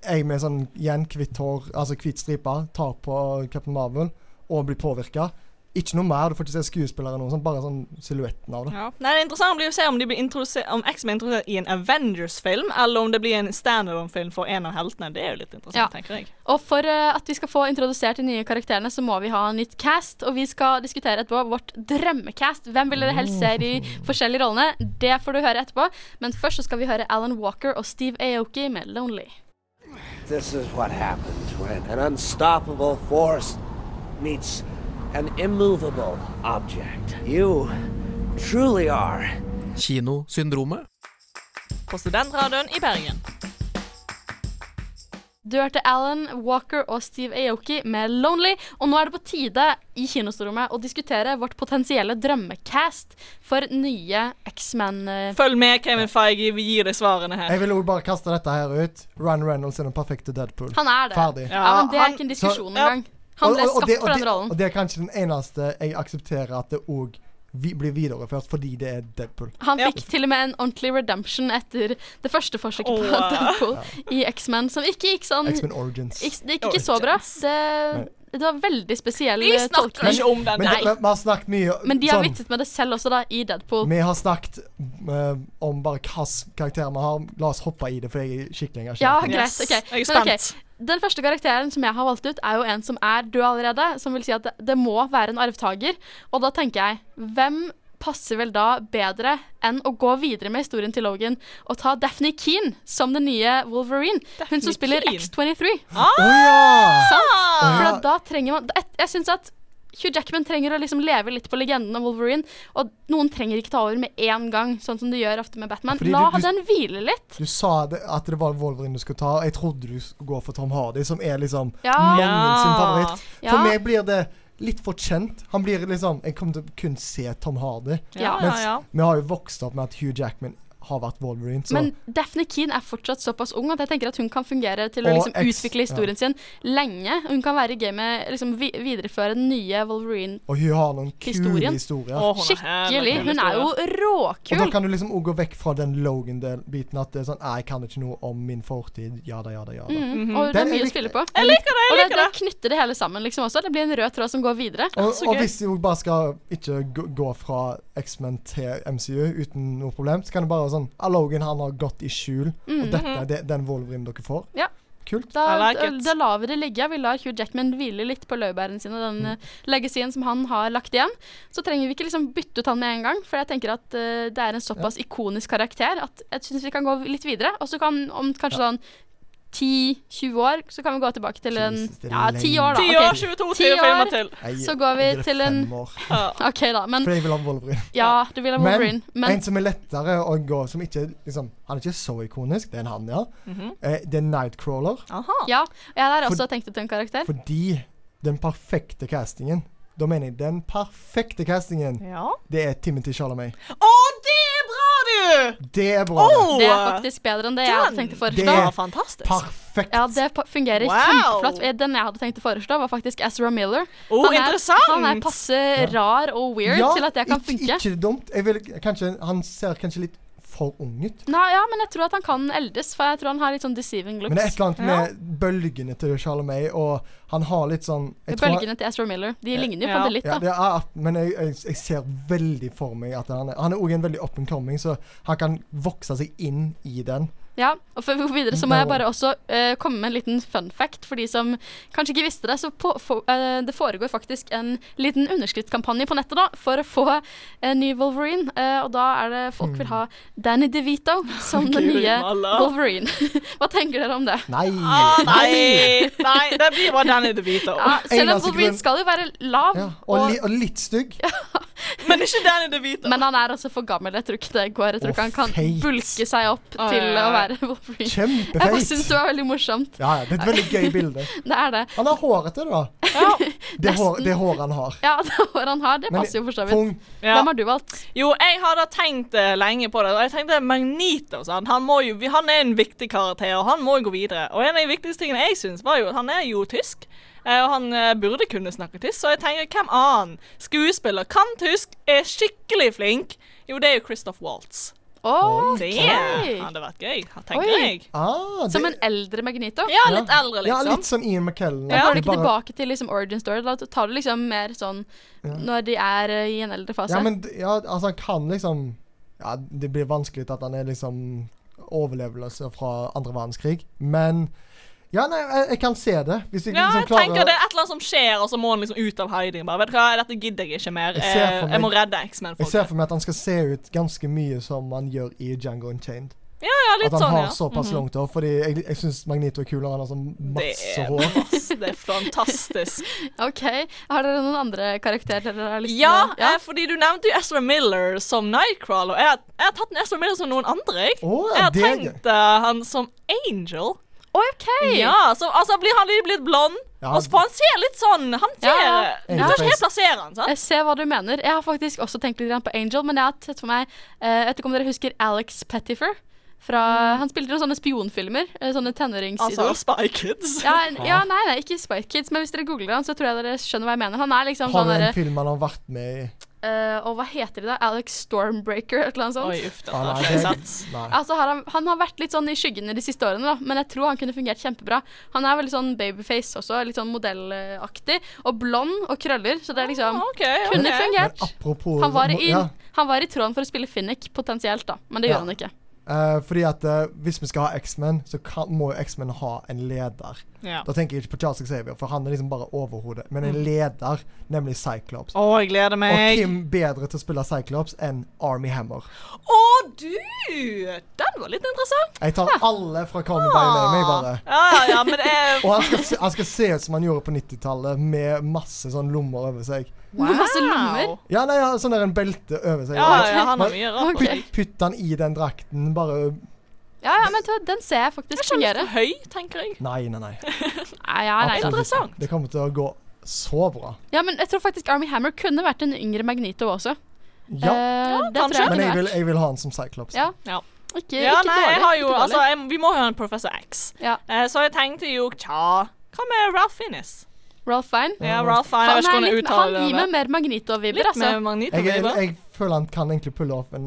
jeg med sånn igjen hvitt hår, altså hvit stripe, tar på Captain Marvel og blir påvirka. Ikke noe mer, du får ikke se skuespillere eller noe sånt, bare sånn silhuetten av det. Ja. Nei, det interessante blir å se om, de blir introdusert- om X-Men er introdusert i en Avengers-film, eller om det blir en standalone-film for en av heltene. Det er jo litt interessant, Ja. tenker jeg. Og for eh, at vi skal få introdusert de nye karakterene, så må vi ha en nytt cast. Og vi skal diskutere etterpå vårt drømmecast. Hvem vil dere helst se i de forskjellige rollene? Det får du høre etterpå. Men først så skal vi høre Alan Walker og Steve Aoki med 'Lonely'. This is what happens when an unstoppable force meets an immovable object. You truly are Kinosyndromet. På Studentradioen i Bergen. Du hørte Alan Walker og Steve Aoki med 'Lonely', og nå er det på tide i kinostorrommet å diskutere vårt potensielle drømmecast for nye X-Man. eh, Følg med, Kevin Feige. Vi gir deg svarene her. Jeg ville også bare kaste dette her ut. Ryan Reynolds er den perfekte Deadpool. Han er det. Ferdig. Ja, men Det er han- ikke en diskusjon Så- ja. engang. Han ble Og- og- og skapt det- for og den det- rollen. Og det er kanskje den eneste jeg aksepterer at det òg vi blir videreført fordi det er Deadpool. Han Ja. fikk til og med en ordentlig redemption etter det første forsøket på Åh. Deadpool i X-Men, som ikke gikk sånn X-Men Origins. ikke- Det gikk ikke så bra. Det, det var veldig spesiell Vi eh, snakker tolkning. ikke om den. Men Nei. det, men vi har snakket mye Men de har sånn, vitset med det selv også, da, i Deadpool. Vi har snakket eh, om bare hvilke karakterer vi har. La oss hoppe i det, for jeg er skikkelig engasjert. Ja, Yes. greit. ok. Jeg er Men ok, spent. Den første karakteren som jeg har valgt ut, er jo en som er død allerede. Som vil si at det, det må være en arvtaker. Og da tenker jeg, hvem passer vel da bedre enn å gå videre med historien til Logan og ta Daphne Keane som den nye Wolverine? hun som spiller Keane? X23. Å Ah! ja! Sant? For ja. at da trenger man Jeg, jeg syns at Hugh Jackman trenger å liksom leve litt på legenden om Wolverine. Og noen trenger ikke ta over med én gang, sånn som de gjør ofte med Batman. Fordi La du- du- den hvile litt. Du sa det, at det var Wolverine du skulle ta. og Jeg trodde du skulle gå for Tom Hardy, som er liksom Ja. mange sin favoritt. For Ja. meg blir det litt for kjent. Han blir liksom Jeg kommer til å kun se Tom Hardy. Ja. Ja, ja. Vi har jo vokst opp med at Hugh Jackman har vært Wolverine, så Men Daphne Keane er fortsatt såpass ung at jeg tenker at hun kan fungere til å Og liksom ex- utvikle historien sin lenge. Hun kan være i gamet, liksom vi videreføre den nye Wolverine Og hun har noen Historien. kule historier. Å, hun er skikkelig. herlig. Hun er jo Og da råkul. kan du liksom òg gå vekk fra den Logan-biten at det er sånn «Nei, Jeg kan ikke noe om min fortid. Jada, jada, jada. Mm, og det er Den er mye å likt- spille på. Jeg liker det. Og jeg det, liker det det. knytter det hele sammen liksom også. Det blir en rød tråd som går videre. Og, Så og gøy. hvis de jo bare skal ikke gå, gå fra X-Men til MCU uten noe problem, så kan det bare være sånn «Ah, Logan han har gått i skjul, og dette er det, den Wolverine dere får. Mm. Ja. Kult. Da, I like da, it. da lar vi det ligge. Vi lar Hugh Jackman hvile litt på laurbærene sine og Mm. den eh, legacyen som han har lagt igjen. Så trenger vi ikke liksom bytte ut han med en gang, for jeg tenker at eh, det er en såpass ikonisk karakter at jeg syns vi kan gå litt videre. Og så kan om kanskje sånn 10-20 år, så kan vi gå tilbake til en Jesus, det er Ja, 10 år, da. Ti ok. år, 22 til Ti år. filmer til. Jeg- Så går vi jeg gir det til en- fem år, OK, da. Men For jeg vil ha Wolverine. ja, du vil ha Wolverine. Men en som er lettere å gå, som ikke liksom Han er ikke så ikonisk, det er en han, ja. Mhm. eh, det er Nightcrawler. Aha. ja, jeg har også tenkt ut en karakter. Fordi den perfekte castingen Da mener jeg den perfekte castingen, Ja. det er Timothy Chalamet. Å, det er bra, du! Det er bra. det. Åh! Det er faktisk bedre enn det jeg hadde tenkt å Det foreslå. er- var fantastisk. Perfekt. Ja, det pa- fungerer Wow. kjempeflott. Den jeg hadde tenkt å foreslå, var faktisk Ezra Miller. Oh, han, er, interessant! han er passe rar og weird Ja, til at det kan ikke- funke. Ikke dumt. Jeg vil, kanskje, han ser kanskje litt for ung ut. Nei, ja, men jeg tror at han kan eldes, for jeg tror han har litt sånn deceiving Men det er looks. et eller annet med bølgene til Charlemagne, og han har litt sånn jeg tror han- Bølgene til Ezra Miller. De ligner jo Ja. på det litt, da. Ja, det er, men jeg, jeg, jeg ser veldig for meg at han er Han er òg en veldig up and coming, så han kan vokse seg inn i den. Ja, og Før vi går videre, så må Det jeg var- bare også eh, komme med en liten fun fact. For de som kanskje ikke visste det, så på, for, eh, det foregår faktisk en liten underskriftskampanje på nettet da, for å få en ny Wolverine. Eh, og da er det folk Mm. vil ha Danny DeVito som den Guri nye malla. Wolverine. Hva tenker dere om det? Nei! Å, Ah, nei, nei, det blir bare Danny DeVito. Ja, selv om eneste Wolverine grunn- skal jo være lav, Ja, og og, li, og litt stygg. Men ikke Danny DeVito. men han er altså for gammel. Jeg tror ikke det går. Jeg tror Og ikke han kan feit. bulke seg opp Ai, til å ai, ai. være Wolverine. Jeg bare syns Kjempefeit. det var veldig morsomt. Ja, ja, det er et veldig gøy bilde. Det er det. Han har hårete, da. Det, hår, det håret han har. Ja, det håret han har, det Men passer jo for så vidt. Fung, Ja. Hvem har du valgt? Jo, jeg har da tenkt eh, lenge på det. og Jeg tenkte Magneto. Sant? Han, må jo, han er en viktig karakter, og han må jo gå videre. Og en av de viktigste tingene jeg syns, var jo at han er jo tysk. eh, Og han eh, burde kunne snakke tysk, så jeg tenker hvem annen skuespiller kan tysk, er skikkelig flink? Jo, det er jo Christoph Waltz. Å, Det ok. hadde vært gøy, tenker Oi. jeg. Ah, det, Som en eldre Magneto? Ja, litt eldre, Ja, liksom. litt som Ian McKellen. Da at går de du ikke tilbake til liksom origin story. Da tar du liksom mer sånn når de er eh, i en eldre fase. Ja, men d- ja, altså han kan liksom Ja, det blir vanskelig at han er liksom overlevelse fra andre verdenskrig, men Ja, nei, jeg, jeg kan se det. Hvis jeg Ja, liksom jeg klarer tenker det er et eller annet som skjer, og så må han liksom ut av hiding. Bare, vet du hva, dette gidder jeg ikke mer. Jeg Jeg, ser for jeg må meg- redde X-Men. Jeg ser for meg at han skal se ut ganske mye som han gjør i Django Unchained. Ja, ja, litt at han sånn, har ja. såpass Mhm. langt hår, fordi jeg, jeg syns Magnito er kulere. Han har sånn masse Det er hår. masse- Det er fantastisk. OK. Har dere noen andre karakterer dere har lyst til Ja, å ja. eh, fordi du nevnte jo Ezra Miller som Nightcrawler. Jeg, har- jeg har tatt en Ezra Miller som noen andre, jeg. Å, ja, jeg har det er tenkt eh, han som Angel. OK! Ja, så altså, blir han litt, litt blond. Ja. Og så- for han ser litt sånn Han ser Ja, Du ja. kan ikke helt plassere han, sant? Jeg ser hva du mener. Jeg har faktisk også tenkt litt grann på Angel, men jeg har sett for meg eh, Jeg vet ikke om dere husker Alex Pettifer? Fra, han spilte noen sånne spionfilmer. eh, Sånne tenåringsidol. Mm. Altså Spy Kids. ja, en- ja, nei, nei, ikke Spike Kids, men hvis dere googler han, så tror jeg dere skjønner hva jeg mener. Han er liksom Har sånn du en derre film han har vært med i? eh, Og hva heter de da? Alex Stormbreaker, et eller annet sånt. Oi, uff, det Ah, har nei, ikke jeg sett. det- nei. Altså, har han, han har vært litt sånn i skyggene de siste årene, da, men jeg tror han kunne fungert kjempebra. Han er veldig sånn babyface også, litt sånn modellaktig, og blond og krøller, så det er liksom Ah, ok, ok. Kunne Men fungert. apropos Han var, i, ja. han var i tråden for å spille Finnick, potensielt, da, men det Ja. gjør han ikke. Eh, fordi at eh, hvis vi skal ha X-Men, så kan, må jo X-Men ha en leder. Ja. Da tenker jeg ikke på Charles Xavier, for han er liksom bare overhodet. Men Mm. en leder, nemlig Cyclops. Å, jeg gleder Og meg. hvem bedre til å spille Cyclops enn Army Hammer? Å, du! Den var litt interessant. Jeg tar alle fra Call Me By Your Name, jeg bare. Ja, ja, ja, men eh, Og han skal, se, han skal se ut som han gjorde på 90-tallet, med masse sånn lommer over seg. Med masse lommer. Ja, nei, ja, sånn der en belte over seg. Ja, ja, han har Men mye rart. Ok. på seg. Putt han i den drakten, bare Ja, ja, men t- den ser jeg Jeg faktisk skjønner fungere. for høy, tenker jeg. Nei, nei, nei. Nei, ja, nei, Absolutt nei. ikke. interessant. Det kommer til å gå så bra. ja, men jeg tror faktisk Army Hammer kunne vært en yngre Magnito også. Ja. Eh, det tror kanskje. jeg kunne Men jeg vil, vært. jeg vil ha han som Cyclops. Ja, Ja. ikke, ja, ikke nei, dårlig. jeg har jo, ikke dårlig. altså, jeg, vi må ha en Professor X. Ja. Eh, så jeg tenkte jo, tja, hva med Ralph Fiennes? Ralph Fine. Ja, Ralph Fiennes, jeg vet ikke Han, hvordan er jeg litt, han uttaler det. gir meg mer Magnito-vibber, Litt altså. med Jeg, jeg, magnetofiber. jeg føler han kan egentlig pulle off en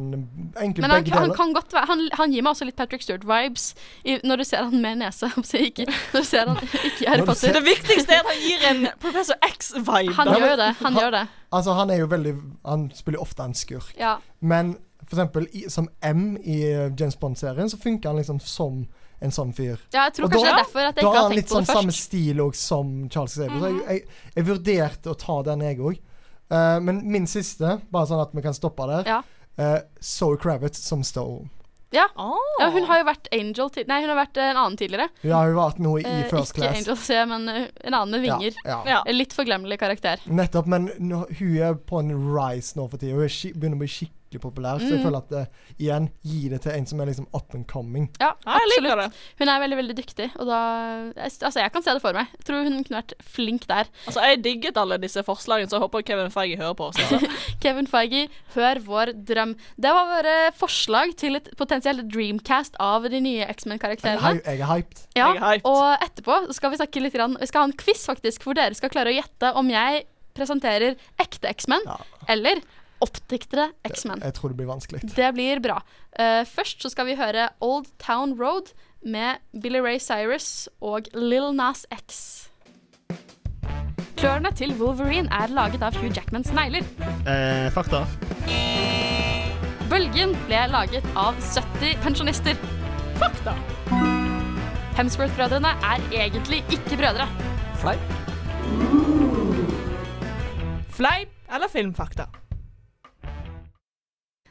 egentlig Men han, begge han deler. kan godt være han, han gir meg også litt Patrick Stewart-vibes i- når du ser han med nese. om så Ikke, når du ser han ikke i Når Harry du Potter. Det viktigste er at han gir en Professor X-vibe. Han Ja, gjør men- jo det. Han gjør det. Altså, han er jo veldig Han spiller jo ofte en skurk. Ja. Men for eksempel i, som M i eh, James Bond-serien, så funker han liksom som en sånn fyr. ja, jeg tror Og da- kanskje det er derfor at jeg Da ikke har har han litt tenkt på sånn det samme først. Mhm. stil òg som Charles Xavier. Så jeg, jeg, jeg vurderte å ta den, jeg òg. men min siste, bare sånn at vi kan stoppe der, Ja. eh, Zoe Kravitz som Stone. Ja. Oh. ja, hun har jo vært Angel ti- Nei, hun har vært eh, en annen tidligere. Ja, hun har vært noe i Eh, First ikke Class. Angel C, men eh, en annen med vinger. Ja, ja. ja. En Litt forglemmelig karakter. Nettopp, men nå, hun er på en rise nå for tida. Hun er skik- begynner å bli skikkelig populær. Så jeg Mhm. føler at eh, igjen, gi det til en som er liksom up and coming. Ja, Ja, jeg liker absolutt. Hun er veldig, veldig dyktig, og da jeg s- Altså, jeg kan se det for meg. Jeg tror hun kunne vært flink der. Altså, jeg digget alle disse forslagene, så jeg håper Kevin Feige hører på oss. Altså. Kevin Feige, hør vår drøm. Det var våre forslag til et potensielt dreamcast av de nye Jeg, er hy- X-Men-karakterene. jeg er hyped. Ja, Jeg er hyped. og etterpå så skal vi snakke litt grann, Vi skal ha en quiz faktisk hvor dere skal klare å gjette om jeg presenterer ekte X-Men Ja. eller oppdiktede X-Men. Jeg tror det blir vanskelig. Det blir bra. Eh, først så skal vi høre Old Town Road med Billy Ray Cyrus og Lil Nas X. Klørne til Wolverine er laget av Hugh Jackmans negler. Eh, fakta. Bølgen ble laget av 70 pensjonister. Fakta! Hemsworth-brødrene er egentlig ikke brødre. Fleip. Fleip eller filmfakta?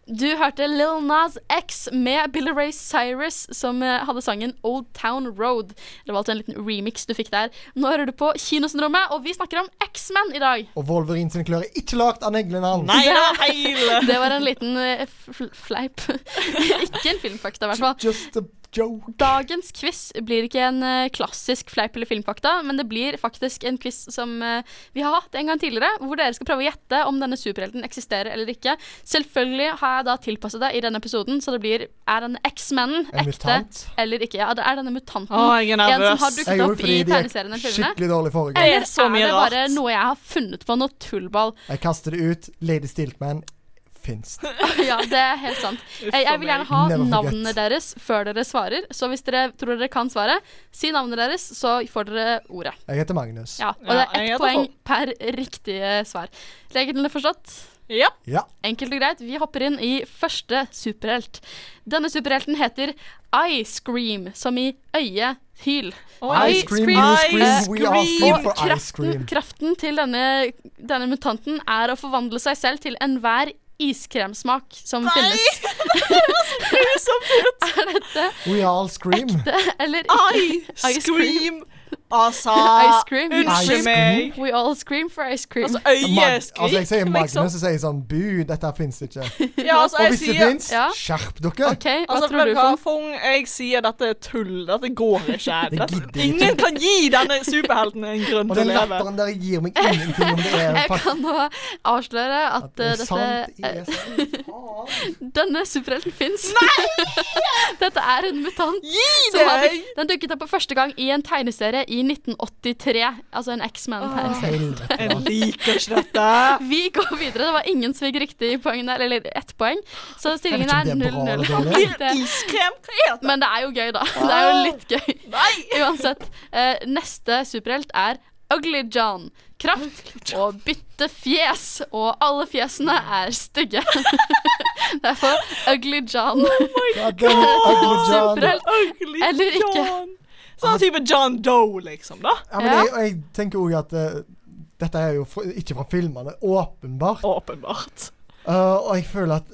Du hørte Lil Nas X med Billy Ray Cyrus, som eh, hadde sangen Old Town Road. Det var altså en liten remix du fikk der. Nå hører du på Kinosyndromet, og vi snakker om X-Men i dag. Og Wolverine sine klør er ikke lagd av neglene hans. Nei, det var feil! Det var en liten eh, fl- fleip. ikke en filmfakta, i hvert fall. Just a joke. Dagens quiz blir ikke en eh, klassisk fleip eller filmfakta, men det blir faktisk en quiz som eh, vi har hatt en gang tidligere, hvor dere skal prøve å gjette om denne superhelten eksisterer eller ikke. Selvfølgelig har jeg da tilpasset det i denne episoden, så det blir er denne X-mennen En ekte mutant? eller ikke? Ja, det er denne mutanten. Å, jeg er en som har nervøs. dukket opp i de tegneserien eller filmene. skikkelig dårlig forrige gang. Jeg- Eller Det er så mye er det bare rart. noe jeg har funnet på, noe tullball? Jeg kaster det ut. Lady Stiltman fins. ja, det er helt sant. Jeg, jeg vil gjerne ha Never forget. navnene deres før dere svarer. Så hvis dere tror dere kan svaret, si navnet deres, så får dere ordet. Jeg heter Magnus. Ja, og Ja, det er jeg ett heter poeng Pål. per riktige svar. Reglene forstått? Ja. Ja. Enkelt og greit, vi hopper inn i første superhelt. Denne superhelten heter Ice Cream, som i øye hyl. Oi. Ice cream, ice ice cream, we are cream. scream Og for ice kraften, cream. kraften til denne, denne mutanten er å forvandle seg selv til enhver iskremsmak som finnes. Er dette We are all scream. eller I ikke ice cream? scream. Altså Ice cream. Ice cream. Unnskyld meg. We all scream for ice cream. Altså Mag altså, jeg sier øyeskrik, Magnus, liksom. så sier jeg sånn Bu, dette her fins ikke. Ja, altså, Og jeg hvis det sier fins, Ja. skjerp dere! OK, hva Altså, tror du, Fong? Fong, jeg sier dette er tull. Dette går ikke. Det Dette, gidder jeg ingen kan gi denne superhelten en grunn Og til den å leve. latteren der gir meg ingenting om det er Jeg faktisk kan nå avsløre at, at det eh, er dette, sant. det er sant. Faen. denne superhelten fins. dette er en mutant. Gi som har deg! blitt- Den dukket opp for første gang i en tegneserie i 1983. Altså en X-Man-tegneserie. Helvete. Jeg liker ikke dette. Vi går videre. Det var ingen som fikk riktig poeng der, eller ett poeng. Så Jeg vet stillingen ikke er om det er 0-0. bra eller dårlig. Det- Iskrem? Hva er det? Men det er jo gøy, da. Det er jo litt gøy. Nei! Uansett, eh, neste superhelt er Ugly John. Kraft og bytte fjes, og alle fjesene er stygge. Derfor Ugly John. God damn it, ugly John. Superhelt. Ugly Eller ikke. John. Sånn type John Doe, liksom, da. Ja, men jeg, og jeg tenker òg at eh, dette er jo fra- ikke fra filmene, åpenbart. Åpenbart. Eh, og jeg føler at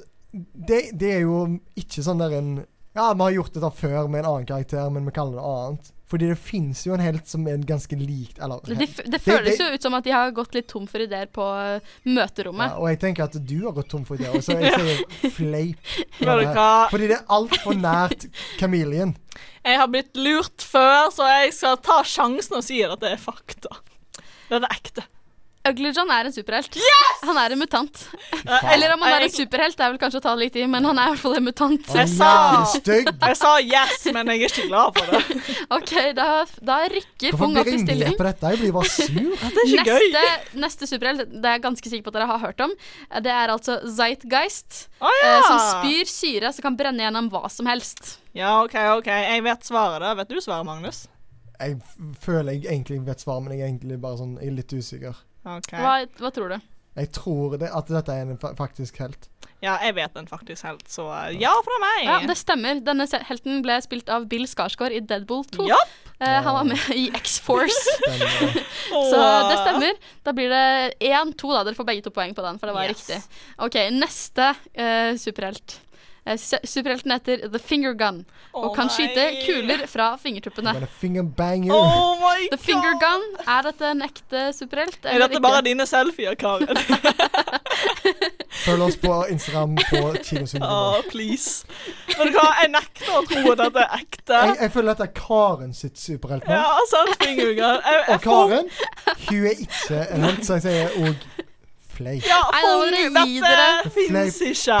det, det er jo ikke sånn der en Ja, vi har gjort dette før med en annen karakter, men vi kaller det annet. Fordi det fins jo en helt som er ganske likt eller, Det, det føles jo ut som at de har gått litt tom for ideer på eh, møterommet. Ja, og jeg tenker at du har gått tom for ideer, så jeg sier fleip. med Vet det du her. hva? Fordi det er altfor nært kameleon. Jeg har blitt lurt før, så jeg skal ta sjansen og si at det er fakta. Dette er ekte. Ugly John er en superhelt. Han er en mutant. Eh, Eller om han er en Jeg- superhelt, det er vel kanskje å ta det litt i, men han er i hvert fall en mutant. Jeg sa- Stygg. Jeg sa yes, men jeg er ikke glad for det. OK, da, da rykker Hvorfor Fung blir opp i jeg med stilling. på dette? Jeg blir bare sur. Det er ikke gøy. Neste, neste superhelt, det er jeg ganske sikker på at dere har hørt om, det er altså Zeitgeist. Å ah, ja. eh, Som spyr syre som kan brenne gjennom hva som helst. Ja, OK, OK. Jeg vet svaret. da. Vet du svaret, Magnus? Jeg f- føler jeg egentlig vet svaret, men jeg er egentlig bare sånn, jeg er litt usikker. OK. Hva, hva tror du? Jeg tror det, at dette er en fa- faktisk helt. Ja, jeg vet den faktisk helt, så eh, ja fra meg. Ja, det stemmer. Denne se- helten ble spilt av Bill Skarsgård i Deadpool 2. Ja. Eh, han var med i X-Force, Den, eh, så det stemmer. Da blir det 1-2, da. Dere får begge to poeng på den, for det var Yes. riktig. OK, neste eh, superhelt. Eh, se- Superhelten heter The Finger Gun og Å, kan nei. skyte kuler fra fingertuppene. I'm gonna finger bang you. Oh my The Finger god. Gun, er dette en ekte superhelt? Er dette bare dine selfier, Karen? Følg oss på Instagram på Kinosyndromet. Å, please. Vet du hva, jeg nekter å tro at dette er ekte. Jeg, jeg føler dette er Karen sitt superheltnavn. Ja, sant, Finger Gun. Jeg, Og jeg får Karen, hun er ikke en helt, så jeg sier òg fleip. Ja, Nei, nå må Fong, dere gi dette dere. fins ikke.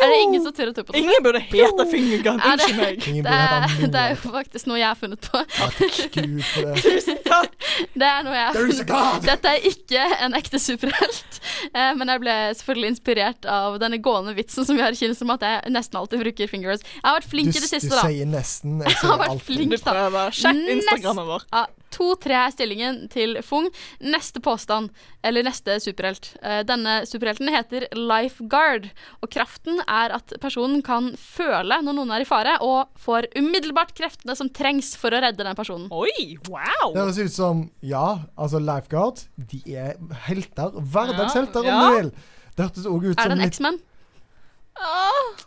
Er det ingen som tør å tro på det? Ingen burde hete Finger Gun. Er det- Unnskyld meg. Ingen Det burde hete er, Anne. det er jo faktisk noe jeg har funnet på. Takk Gud for det. Tusen takk. Det er noe jeg har There is a God! funnet. Dette er ikke en ekte superhelt, Eh, men jeg ble selvfølgelig inspirert av denne gående vitsen som vi har i kino, som at jeg nesten alltid bruker fingers. Jeg har vært Du, flink i det du siste, da. sier nesten. Jeg har sier vært alltid. flink. Du prøver. Sjekk Nest- Instagrammen vår. Ja, 2-3 er stillingen til Fung. Neste påstand, eller neste superhelt. Eh, Denne superhelten heter Lifeguard, og kraften er at personen kan føle når noen er i fare, og får umiddelbart kreftene som trengs for å redde den personen. Oi, Det wow. høres ut som Ja, altså Lifeguard, de er helter. Hverdagshelter, Ja, om du ja. vil. Det hørtes òg ut Er som det en X-Man?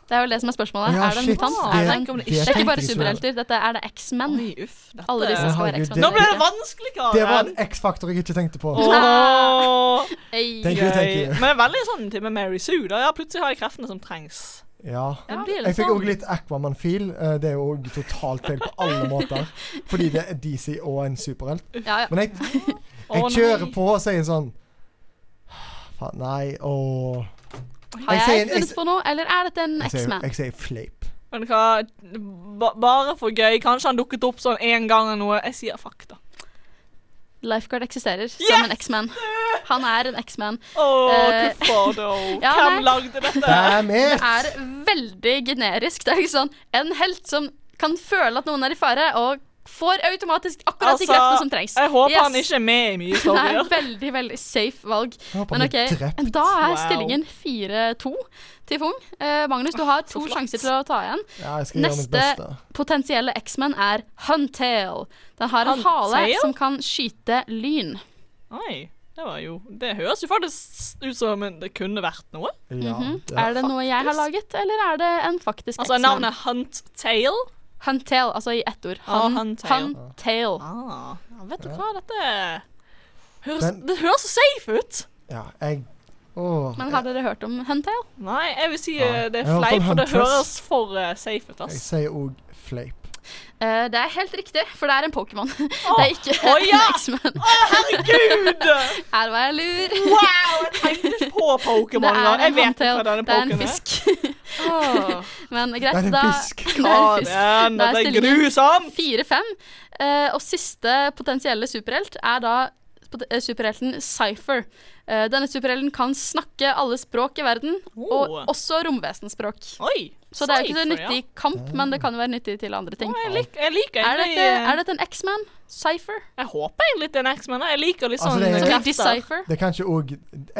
Det er vel det som er spørsmålet. Ja, er det en shit, mutant? det- er det, en- Tenk om det det det er ikke bare tenkte jeg ikke superhelter, dette er det X-Men. Oi, uff. Dette. Alle disse skal være Herregud, X-Men. det- Nå ble det vanskelig, Karen. Det var en X-faktor jeg ikke tenkte på. Åh, Ei, Tenk- gøy. tenker du. Men det er veldig sånn type Mary Sue. da. Ja, plutselig har jeg kreftene som trengs. Ja. det blir litt Jeg fikk sånn. òg litt Aquaman-feel. eh, Det er jo også totalt feil på alle måter. Fordi det er DC og en superhelt. Ja, ja. Men jeg, Å, jeg kjører nei. på og sier sånn Faen, nei, åh Har Jeg jeg sier en funnet X- på noe, eller er dette en Jeg sier, X-Man? jeg sier fleip. Men hva, ba bare for gøy. Kanskje han dukket opp sånn en gang eller noe. Jeg sier fakta. Lifeguard eksisterer Yes! som en X-Man. Han er en X-Man. Å, Eh, kuffado. ja, nei. Hvem lagde dette? Damn Det it! er veldig generisk. Det er ikke sånn en helt som kan føle at noen er i fare, og får automatisk akkurat de kreftene som trengs. Altså, jeg håper Yes. han ikke er med i mye Det er storyer. et veldig, veldig safe valg. Jeg håper Men han OK, blir drept. da er Wow. stillingen 4-2 til Fung. Eh, Magnus, du har to sjanser til å ta igjen. Ja, jeg skal gjøre mitt Neste beste. potensielle X-Man er Huntail. Den har en hale Huntail? som kan skyte lyn. Oi, det var jo Det høres jo faktisk ut som en- det kunne vært noe. Ja, Mhm. det Er det noe jeg har laget, eller er det en faktisk Altså, X-Man? navnet Hunt Tail. Huntail, altså i ett ord. Ah, Hun- Huntail. Huntail. Ah, ja, vet du hva, dette høres, Den- Det høres så safe ut. ja, jeg Åh. Men har dere hørt om Huntail? Nei, jeg vil si Nei. eh, det Jeg er har hørt om fleip, for det Huntress. høres for eh, safe ut, Jeg ass. sier òg fleip. Eh, det er helt riktig, for det er en Pokémon. Å, det er ikke å ja! en X-Man. Herregud! Her var jeg lur. Wow! Jeg tenkte ikke på Pokémon. det da. er Jeg en vet Huntail. hva denne Det er en Pokémon er. fisk. Åh. Men greit, Det er en da fisk. Det er en fisk. Karen, Da er dette er stillingen grusomt! 4-5. Eh, og siste potensielle superhelt er da pot- eh, superhelten Cypher. Eh, denne superhelten kan snakke alle språk i verden, Oh. og også romvesenspråk. Oi! Så det er jo ikke så safer, nyttig i kamp, men det kan jo være nyttig til andre ting. Ja. Jeg, lik, jeg liker Er egentlig dette, er dette en X-Man? Cypher? Jeg håper egentlig det er en X-Man. da. Jeg liker litt Altså, sånn det er- Som i krefter. Decipher? Det er kanskje òg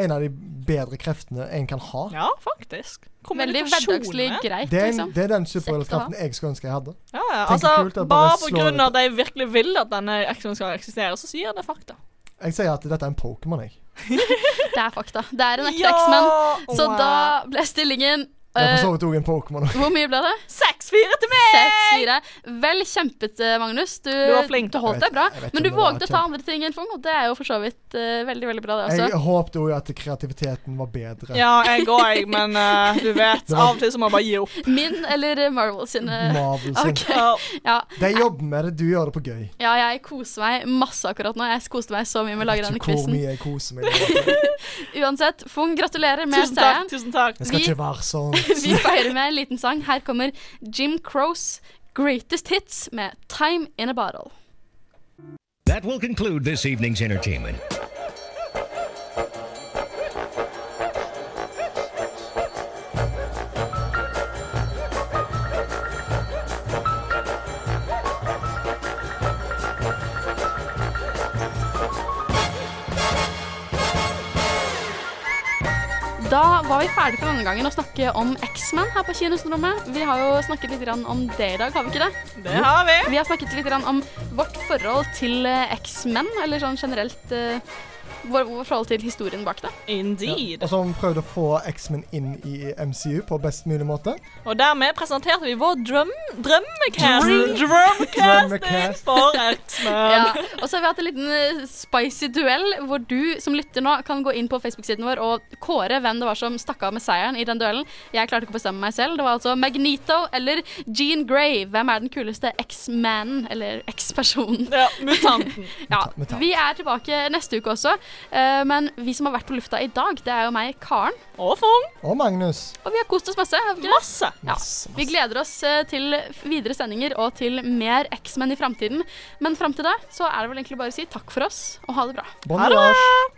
en av de bedre kreftene en kan ha. Ja, faktisk. Veldig Kommunikasjon, hverdagslig ja. greit, Det er, liksom. det er den superheltkraften jeg skulle ønske jeg hadde. Ja, ja. Tenk Altså, kult at bare bare på slår grunn ut. av at jeg virkelig vil at denne X-Man skal eksistere, så sier jeg det fakta. Jeg sier at dette er en Pokémon, jeg. Det er fakta. Det er en ekte X-Man. Så da ble stillingen Det er eh, for så vidt òg en Pokémon. Hvor mye ble det? 6-4 til meg! 6-4. Vel kjempet, eh, Magnus. Du, Du var flink. du Jeg holdt vet- deg bra. jeg vet Men ikke du om det var vågde å ta andre ting enn Fung, og det er jo for så vidt eh, veldig veldig bra, det også. Jeg håpte òg at kreativiteten var bedre. Ja, jeg går, jeg, men eh, du vet, av og til så må man bare gi opp. Min eller Marvel sine. Marvel sin. Ok. Ja. Ja, De jobber med det, du gjør det på gøy. ja, jeg koser meg masse akkurat nå. Jeg koste meg så mye med å lage Vet denne ikke hvor quizen. mye jeg koser meg. med det. Uansett, Fung, gratulerer med Tusen seieren. takk. tusen takk. Det skal Vi- ikke være sånn. Vi feirer med en liten sang. Her kommer Jim Crows Greatest Hits med Time In A Bottle. That will conclude this evening's entertainment. Da var vi ferdig for denne gangen å snakke om X-Man her på Kinosrommet. Vi har jo snakket litt grann om det i dag, har vi ikke det? Det har vi. Vi har snakket litt grann om vårt forhold til eh, X-Men, eller sånn generelt eh, vår, vår forhold til historien bak det. Indeed. Og som prøvde å få X-Men inn i MCU på best mulig måte. Og dermed presenterte vi vår drøm, drømmecast. Drømmecast. Drømmecasting for X-Men. Ja. Og så har vi hatt en liten eh, spicy duell, hvor du som lytter nå kan gå inn på Facebook-siden vår og kåre hvem det var som stakk av med seieren i den duellen. Jeg klarte ikke å bestemme meg selv. Det var altså Magnito eller Jean Grey. Hvem er den kuleste X-manen, eller X-personen? Ja, mutanten. Ja, Vi tar- vi er tilbake neste uke også, eh, men vi som har vært på lufta i dag, det er jo meg, Karen. Og Fung. Og Magnus. Og vi har kost oss masse. har vi ikke det? Masse. Ja. Masse, Vi gleder oss eh, til videre sendinger og til mer X-Men i framtiden. Men fram til da så er det vel egentlig bare å si takk for oss, og ha det bra. Bon voyage.